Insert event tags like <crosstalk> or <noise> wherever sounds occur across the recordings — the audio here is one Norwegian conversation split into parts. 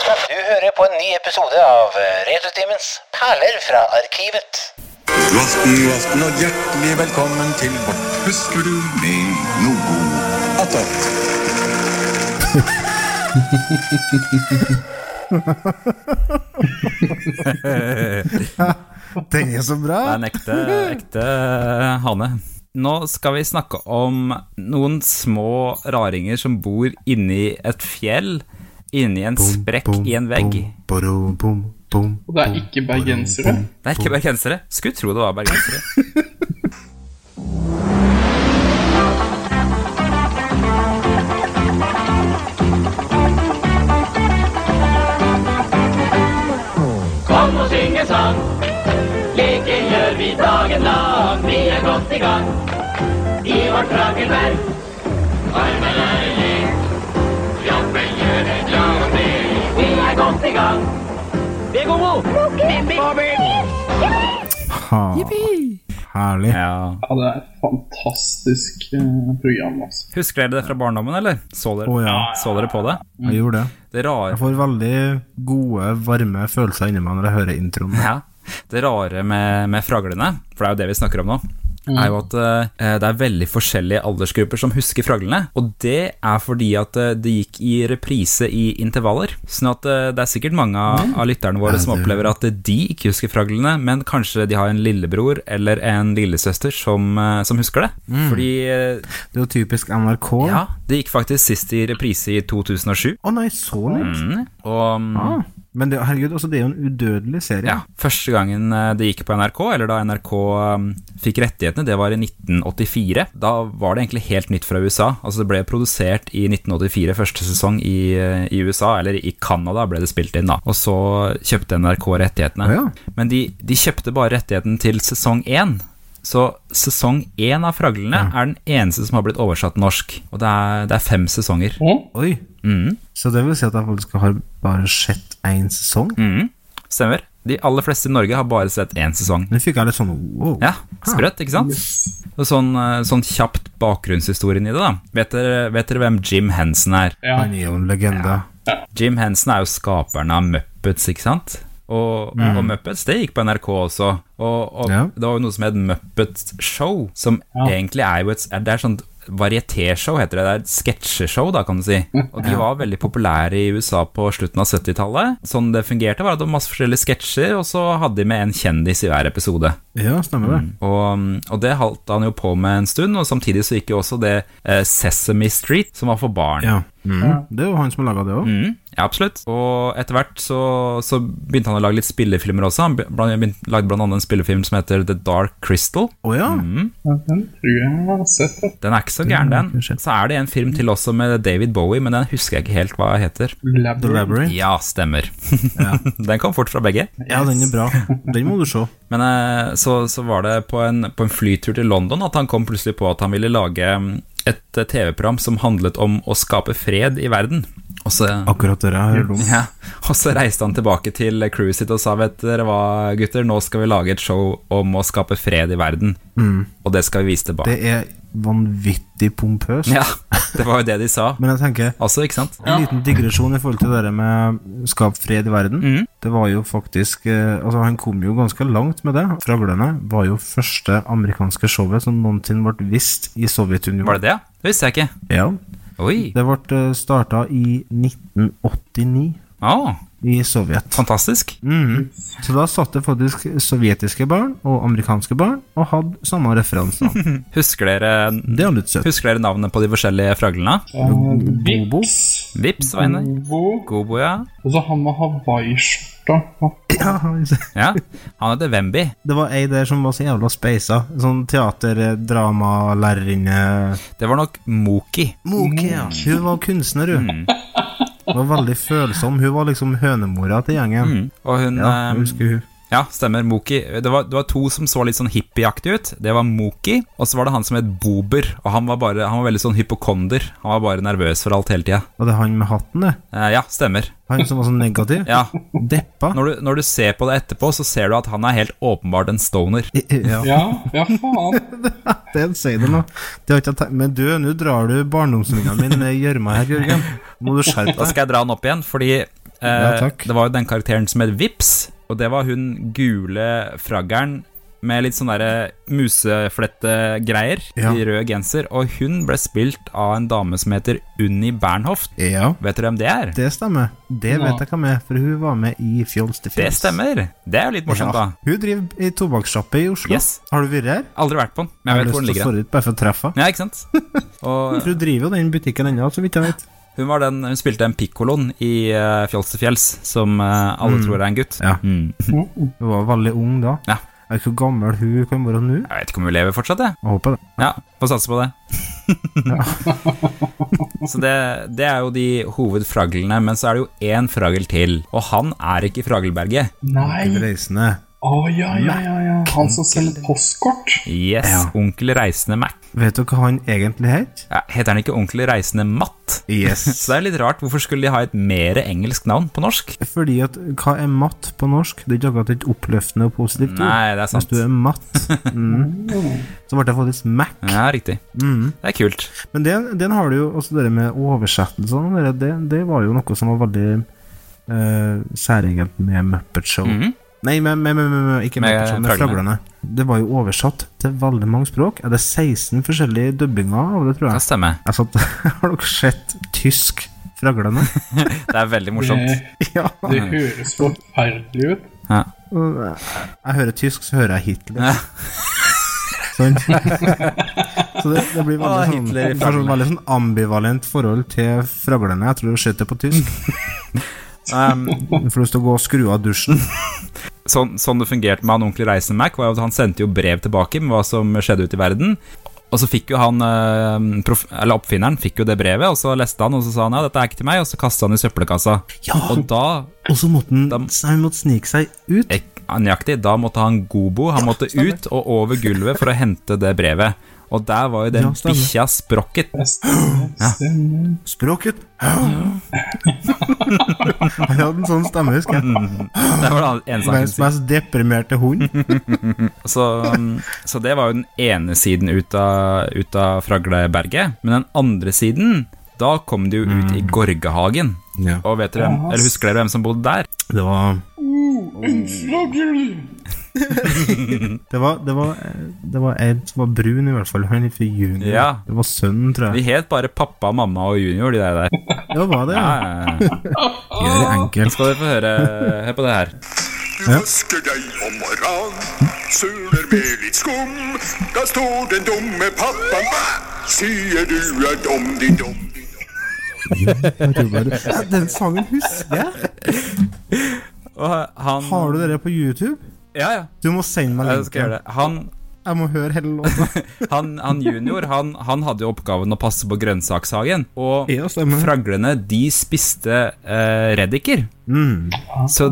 Du hører på en ny episode av Retrotimens perler fra arkivet. God aften, god aften og hjertelig velkommen til vårt Husker du med noe attåt. Det er så bra. Det er en ekte, ekte hane. Nå skal vi snakke om noen små raringer som bor inni et fjell, inni en sprekk i en vegg. Og det er ikke bergensere. Det er ikke bergensere. Skulle tro det var bergensere. Kom og syng en sang. Leker gjør vi dagen lang. Vi er godt i gang i vårt Rakelberg. Arbeid er en lek. Jobben gjør deg glad og det. Vi er godt i gang. Det går godt. Herlig. Ja. Ja, det er et fantastisk eh, program. Altså. Husker dere det fra barndommen, eller? Så dere, Å, ja. så dere på det? Jeg gjorde det. Det rare Jeg får veldig gode, varme følelser inni meg når jeg hører introen. Ja. Det rare med, med fraglene, for det er jo det vi snakker om nå, er jo at eh, det er veldig forskjellige aldersgrupper som husker fraglene. Og det er fordi at eh, det gikk i reprise i intervaller. Sånn at eh, det er sikkert mange av, av lytterne våre som opplever at eh, de ikke husker fraglene, men kanskje de har en lillebror eller en lillesøster som, eh, som husker det. Fordi eh, Det er jo typisk NRK. Å ja, det gikk faktisk sist i reprise i 2007. nei, så nytt. Mm, og mm, Ah. Men det, herregud, altså, det er jo en udødelig serie. Ja, Første gangen eh, det gikk på NRK, eller da NRK um, fikk rettighetene, det var i 1984. Da var det egentlig helt nytt fra USA. Altså Det ble produsert i 1984, første sesong i, eh, i USA, eller i Canada ble det spilt inn, da. Og så kjøpte NRK rettighetene. Å ja. Men de, de kjøpte bare rettigheten til sesong én. Så sesong én av Fraglene er den eneste som har blitt oversatt til norsk. Og det er, det er fem sesonger. Oi. Mm, Så det vil si at jeg faktisk har bare sett én sesong? mm, stemmer. De aller fleste i Norge har bare sett én sesong. Nå fikk jeg litt sånn wow. Ja, sprøtt, ikke sant? Og sånn, eh, sånn kjapt bakgrunnshistorien i det, da. Vet dere, vet dere hvem Jim Henson er? Ja. Han er jo en legende. Jim Henson er jo skaperen av Muppets, ikke sant? Og, og Muppets, det gikk på NRK også. Og, og Ja. det var jo noe som het Muppets Show, som egentlig er jo et Det er sånt varietéshow, heter det. Det er et sketsjeshow, da, kan du si. Og de var veldig populære i USA på slutten av 70-tallet. Sånn det fungerte, var at det var masse forskjellige sketsjer, og så hadde de med en kjendis i hver episode. Ja, stemmer Mm. det. Og, um, og det holdt han jo på med en stund, og samtidig så gikk jo også det eh, Sesame Street, som var for barn. Ja. Mm. Det er jo han som har laga det òg. Mm, ja, absolutt. Og etter hvert så, så begynte han å lage litt spillefilmer også. Han be- blant- begynte- lagde blant annet en spillefilm som heter The Dark Crystal. Å ja. Mm. Ja, Den tror jeg jeg har sett. ja. Den er ikke så gæren, den. kanskje. Så er det en film til også med David Bowie, men den husker jeg ikke helt hva heter. The Labyrinth. Labyrinth. Ja, stemmer. <laughs> den kom fort fra begge. Ja, den er bra. Den må du se. Men eh, så, så var det på en, på en flytur til London at han kom plutselig på at han ville lage mm, et eh, TV-program som handlet om å skape fred i verden. Og så, <laughs> Akkurat det jeg hører om. ja, og så reiste han tilbake til crewet sitt og sa vet dere hva, gutter, nå skal vi lage et show om å skape fred i verden. Og det skal vi vise tilbake. Det er vanvittig pompøst. Ja, det var jo det de sa. Men jeg tenker Altså, ikke sant? en liten digresjon i forhold til det der med skap fred i verden. Mm. Det var jo faktisk eh, Altså, han kom jo ganske langt med det. 'Fraglene' var jo første amerikanske showet som noensinne ble vist i Sovjetunionen. Var det det? Det visste jeg ikke. Ja. Oi. Det ble starta i 1989 Å, i Sovjet. fantastisk. Mhm. Så da satt det faktisk sovjetiske barn og amerikanske barn og hadde samme <laughs> referanser. Husker dere, Det er jo litt søtt. husker dere navnene på de forskjellige fraglene? Eh, Bobo. Vix. Vips, Sveine. Bobo. Gobo, ja. Og så han med hawaiiskjorta. Ja, Ja, Ja, han heter Wemby. Det var ei der som var så jævla speisa. Sånn teaterdramalærerinne Det var nok Moki. Moke, ja. Mm. Hun var kunstner, hun. Mm. Hun var veldig følsom. Hun var liksom hønemora til gjengen. Og hun Ja, eh, jeg husker hun. ja, stemmer. Moki. Det var, det var to som så litt sånn hippieaktig ut. Det var Moki, og så var det han som het Bober. Og han var, bare, han var veldig sånn hypokonder. Han var bare nervøs for alt hele tida. Og det er han med hatten, det. Eh, ja, stemmer. Han som var sånn negativ. Ja. Deppa. Når du, når du ser på det etterpå, så ser du at han er helt åpenbart en stoner. <laughs> Ja, ja, ja faen. det sier det nå. Det har ikke jeg tenkt Men du, nå drar du barndomsvingene mine ned i gjørma her, Jørgen. Nå Må du skjerpe Da deg. skal jeg dra han opp igjen, fordi eh, Ja, takk. Det var jo den karakteren som het Vips, og det var hun gule fraggeren med litt sånn derre museflette-greier Ja. i rød genser, og hun ble spilt av en dame som heter Unni Bernhoft. Ja, Vet du hvem det er? det stemmer. Det vet jeg hvem er, for hun var med i Fjols til fjols. Det stemmer. Det er jo litt morsomt, Ja. da. Hun driver i tobakkssjappe i Oslo. Yes. Har du vært her? Aldri vært på den, men jeg vet hvor lyst den til å ligger. få ut bare for å treffe henne. Ja, ikke <laughs> sant? Og For hun driver jo den butikken ennå, så vidt jeg vet. Hun, var den, hun spilte den pikkoloen i eh, Fjols til fjells, som eh, alle tror er en gutt. Ja. Mm. Hun var veldig ung da. Ja. Jeg vet ikke hvor gammel hun kan være nå. Jeg vet ikke om hun lever fortsatt, jeg. Jeg håper det. Ja, Får satse på det. så det, det er jo de hovedfraglene, men så er det jo én fragl til, og han er ikke i Fragelberget. Til Nei! reisende. Å, ja, ja, ja, ja. Han som selger postkort. Yes, onkel Reisende Mac. Vet dere hva han egentlig het? Ja, heter han ikke onkel Reisende Matt? <laughs> Yes. Så det er litt rart, hvorfor skulle de ha et mer engelsk navn på norsk? Fordi at hva er matt på norsk? Det er ikke akkurat et oppløftende og positivt ord. Nei, det er sant. Hvis du er <laughs> matt, mm, så ble det faktisk mac. Ja, riktig. Det er kult. Men den, den har du jo også det med oversettelsene. Det, det, det var jo noe som var veldig eh, særegent med Muppet Show. Nei, med, med, med, med, med, ikke Med Muppet Show, med Fraglene. Fraglene. Det var jo oversatt til veldig mange språk. Er det 16 forskjellige dubbinger av det, tror Det jeg? stemmer. <laughs> jeg satt, <laughs> har dere sett tysk Fraglene? Det er veldig Det, morsomt. ja. Eh, det høres forferdelig ut. Ja. Og Jeg hører tysk, så hører jeg Hitler. <laughs> Sånn. Så det, det blir veldig Ah, sånn, Hitler i får sånn, veldig sånn ambivalent forhold til fraglene. Jeg tror du skjøt det på tysk. <laughs> Um, Du får lyst til å gå og skru av dusjen. sånn, sånn det fungerte med han onkel Reisende Mac, var jo at han sendte jo brev tilbake med hva som skjedde ute i verden. Og så fikk jo han, eh, proff, eller oppfinneren fikk jo det brevet, og så leste han, og så sa han ja, dette er ikke til meg, og så kastet han i søppelkassa. Og da, Og så måtte han, Da- så han måtte snike seg ut. ek, nøyaktig, da måtte han gobo, han måtte ut og over gulvet for å hente det brevet. Og der var jo den Ja, stemmer. bikkja sprokket. Det stemmer. stemmer. Språket <laughs> Han hadde en sånn stemme, husker Mm, jeg. Det var den eneste han kunne Verdens si. mest deprimerte hund. Så, um, så det var jo den ene siden ut av, ut av Fragleberget. Men den andre siden, da kom de jo ut Mm. i Gorgehagen. Ja. Og vet dere, hvem- eller husker dere hvem som bodde der? Det var <laughs> Det var, det var, det var en som var brun, i hvert fall. Han het Junior. Ja. Det var sønnen, tror jeg. De het bare pappa, mamma og junior, de <laughs> der. der. Ja, hva er det? Ja. Ja, ja, ja. Gjør det Nå enkelt. skal dere få høre Hør på det her. Du vasker deg om morgenen, suler med litt skum. Da står den dumme pappaen, sier du er dum, din dum. din dum. Den sangen husker jeg. Og han Har du det på YouTube? Ja, ja. Du må sende meg Jeg skal gjøre linken. det. Han, Jeg må høre hele låta. <laughs> han, han junior, han, han hadde jo oppgaven å passe på grønnsakshagen. Og Ja, stemmer. fraglene, de spiste eh, reddiker. Så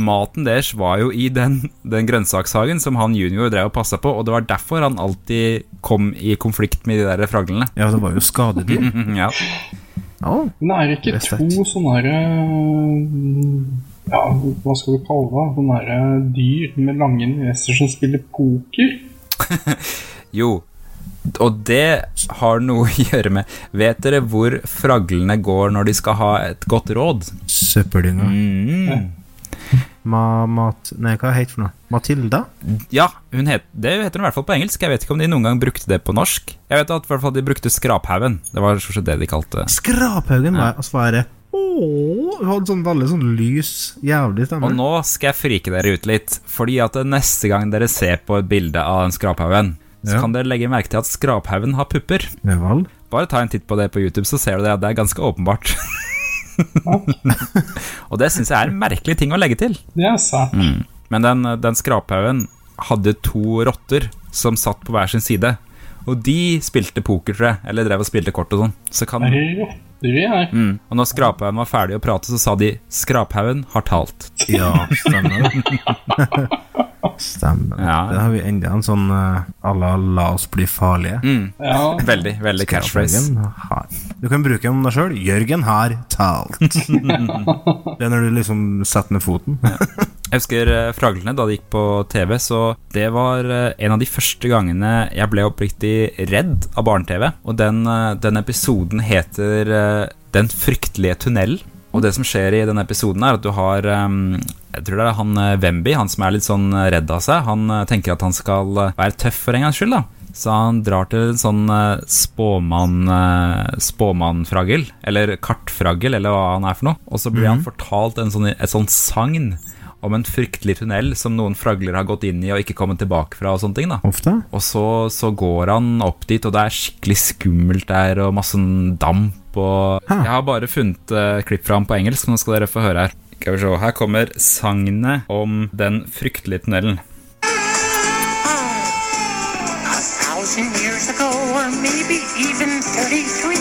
maten deres var jo i den, den grønnsakshagen som han junior drev og passa på, og det var derfor han alltid kom i konflikt med de der fraglene. <laughs> Ja, det var jo skadedyr. Mhm, Ja. Ja. Men er det ikke Respekt. to sånne her, eh, Ja, hva skal du kalle det? Sånne her eh, dyr med lange neser som spiller poker? Jo, og det har noe å gjøre med Vet dere hvor fraglene går når de skal ha et godt råd? Søppeldynga. Mm. Ma, mat... Nei, hva heter hun for noe? Matilda? Ja, hun het, det heter hun i hvert fall på engelsk. Jeg vet ikke om de noen gang brukte det på norsk. Jeg vet at i hvert fall de brukte skraphaugen. Det var stort sett det de kalte Skraphaugen var svaret. Ååå. Hun hadde sånn veldig sånn lys, jævlig Og stemme. nå skal jeg frike dere ut litt, fordi at neste gang dere ser på et bilde av den skraphaugen, så Ja. kan dere legge merke til at skraphaugen har pupper. Ja vel. Bare ta en titt på det på YouTube, så ser du det at det er ganske åpenbart. <laughs> og det syns jeg er en merkelig ting å legge til. Det er sært. Men den, den skraphaugen hadde to rotter som satt på hver sin side. Og de spilte poker, tror jeg, eller drev og spilte kort og sånn. Så kan Det er rotter i her. mm. Og når skraphaugen var ferdig å prate, så sa de 'Skraphaugen har talt'. Ja, stemmer det. Stemmer det. Ja. Da har vi enda en sånn eh, à la la oss bli farlige. Ja. Veldig, veldig Mm, catchphrase. Jørgen har- Du kan bruke den om deg sjøl. Jørgen har <laughs> talt. det er når du liksom setter ned foten. Jeg husker eh, Fraglene da det gikk på TV, så det var eh, en av de første gangene jeg ble oppriktig redd av barne-TV. Og den, eh, den episoden heter eh, Den fryktelige tunnel. Og Og det som skjer i denne episoden, er at du har ehm, Jeg tror det er han eh, Wemby, han som er litt sånn redd av seg. Han eh, tenker at han skal eh, være tøff for en gangs skyld, da. Så han drar til en sånn eh, spåmann eh, spåmannfragel, eller kartfragel, eller hva han er for noe. Og så blir han fortalt en sånn, et sånt sagn om en fryktelig tunnel som noen fragler har gått inn i og ikke kommet tilbake fra og sånne ting, da. Ofte. Og så, så går han opp dit, og det er skikkelig skummelt der, og masse sånn damp og Hæ. Jeg har bare funnet eh, klipp fra ham på engelsk, så nå skal dere få høre her. Skal vi se, Her kommer sagnet om den fryktelige tunnelen. thousand years ago, or maybe even 33,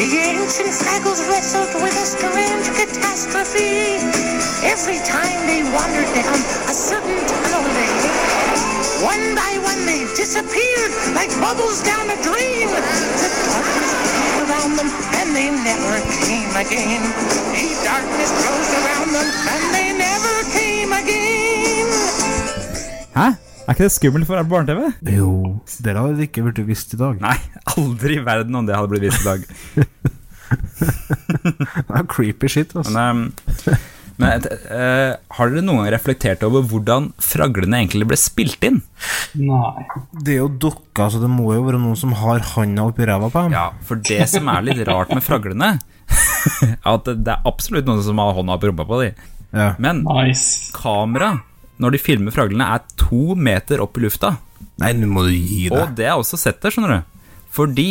the ancient fraggles wrestled with a strange catastrophe. Every time they wandered down a certain tunnel they hit, one by one they disappeared like bubbles down a dream. The darkness came around them and they never came again. The darkness closed around them and they never came again. Hæ? Er ikke det skummelt for barne-TV? Jo, dere hadde ikke blitt visst i dag. Nei, <laughs> aldri i verden om det hadde blitt vist i dag. Det er creepy shit, altså. Men, eh, men eh, har dere noen gang reflektert over hvordan fraglene egentlig ble spilt inn? Nei. Det er jo dukka, så det må jo være noen som har handa oppi ræva på dem. Ja, for det som er litt rart med fraglene, <laughs> er at det det er absolutt noen som har hånda på rumpa på de. Ja. Men Nice. kamera når de filmer fraglene, er to meter opp i lufta. Nei, nå må du gi deg. Og det er også sett der, skjønner du. Fordi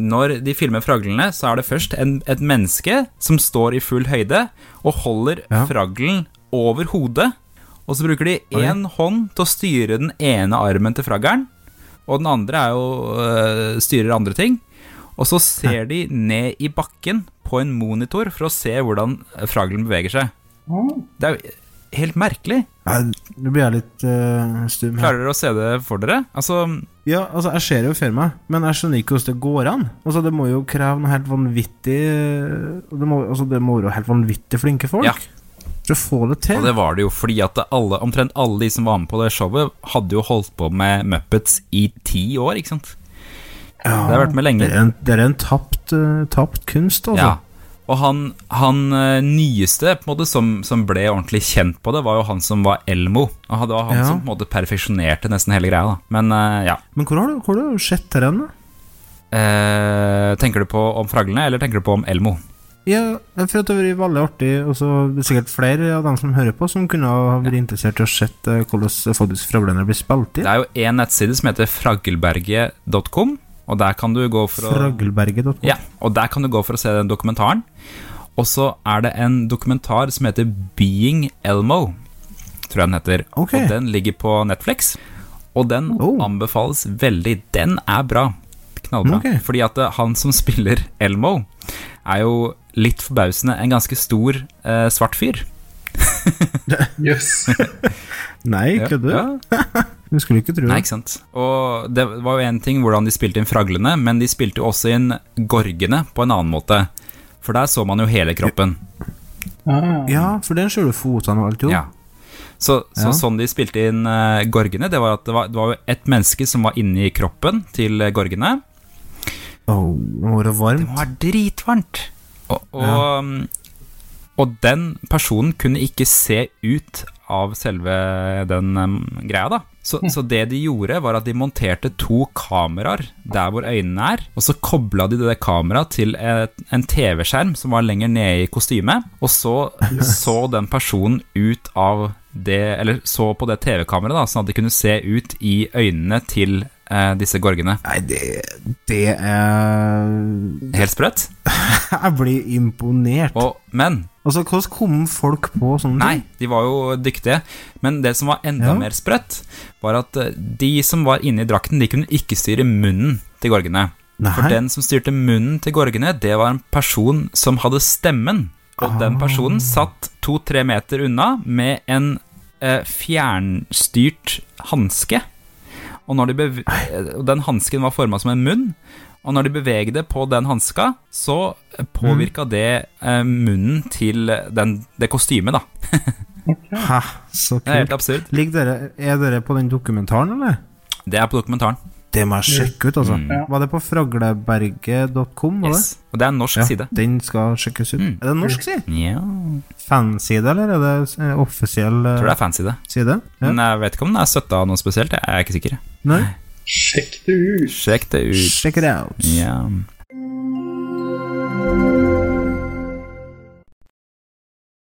når de filmer fraglene, så er det først en, et menneske som står i full høyde og holder Ja. fraglen over hodet. Og så bruker de én hånd til å styre den ene armen til fraggeren, og den andre er jo, øh, styrer andre ting. Og så ser de ned i bakken på en monitor for å se hvordan fraglen beveger seg. Det er jo helt merkelig. Nei, Nå blir jeg litt eh, stum her. Klarer dere å se det for dere? Altså, Ja, altså, jeg ser det jo for meg, men jeg skjønner ikke hvordan det går an. Altså, det må jo kreve noe helt vanvittig og Det må, altså, det må være helt vanvittig flinke folk Ja. for å få det Og til. det var det jo fordi at det alle, omtrent alle de som var med på det showet, hadde jo holdt på med Muppets i ti år, ikke sant? det har vært med Det lenge. er en, det er en tapt, eh, tapt kunst, altså. Ja. Og han, han eh, nyeste på en måte, som, som ble ordentlig kjent på det, var jo han som var Elmo. Og det var han Ja. som på en måte perfeksjonerte nesten hele greia. da Men eh, ja. Men hvor har du, hvor har du sett det hen? da? Eh, tenker du på om fraglene, eller tenker du på om Elmo? Ja, for at det har vært veldig artig, og så er det sikkert flere av dem som hører på, som kunne ha vært interessert i å se eh, hvordan faktisk Fraglener blir spilt Det inn. er jo én nettside som heter fraggelberget.com, og der kan du gå for å Fragelberget.com. Ja, og der kan du gå for å se den dokumentaren. Og så er det en dokumentar som heter Being Elmo, tror jeg den heter. Ok. Og den ligger på Netflix, og den Oh. anbefales veldig. Den er bra. Knallbra. Ok. Fordi at eh, han som <laughs> spiller Elmo, er jo litt forbausende en ganske stor eh, svart fyr. Jøss. Yes. Nei, Ja, kødder ja. du? Du skulle ikke tro Nei, <laughs> det. ikke sant. Og det var jo én ting hvordan de spilte inn fraglene, men de spilte jo også inn gorgene på en annen måte. For der så man jo hele kroppen. Ah, Ja, for den ser du fotene og alt, jo. Ja. Så, så Ja. sånn de spilte inn eh, gorgene, det var at det var, det var jo et menneske som var inni kroppen til eh, gorgene. Åh, det må være varmt. Det var dritvarmt! Og, og, Ja. mm, og den personen kunne ikke se ut av selve den mm, greia, da. Så, så det de gjorde, var at de monterte to kameraer der hvor øynene er, og så kobla de det kameraet til et, en TV-skjerm som var lenger nede i kostymet, og så så den personen ut av det Eller så på det TV-kameraet, da, sånn at de kunne se ut i øynene til eh, disse gorgene. Nei, det, det er <laughs> Helt sprøtt. Jeg blir imponert. Og, men Altså, hvordan kom folk på sånne Nei, de var jo dyktige. Men det som var enda Ja. mer sprøtt, var at eh, de som var inne i drakten, de kunne ikke styre munnen til gorgene. Nei. For den som styrte munnen til gorgene, det var en person som hadde stemmen. Ah. Og den personen satt to-tre meter unna med en eh, fjernstyrt hanske. Og når de bev eh, og den hansken var forma som en munn. Og når de bevegde på den hanska, så Mm. påvirka det eh, munnen til den, det kostymet, da. ting? Hæ, så Det er helt kult. absurd. Ligger dere, er dere på den dokumentaren, eller? Det er på dokumentaren. Det må jeg sjekke ut, altså. Ja. Var det på fragleberget.com? var Mm. Yes. Og det er en norsk det? side. Mm. Ja, den skal sjekkes ut. Er det en norsk side? Ja, Fanside, eller er det eh, offisiell eh, tror det er fancy, det. side? Ja. Men jeg vet ikke om den er støtta av noe spesielt. Jeg er ikke sikker. Nei? Sjekk det ut. Sjekk det ut. Check it out. Ja.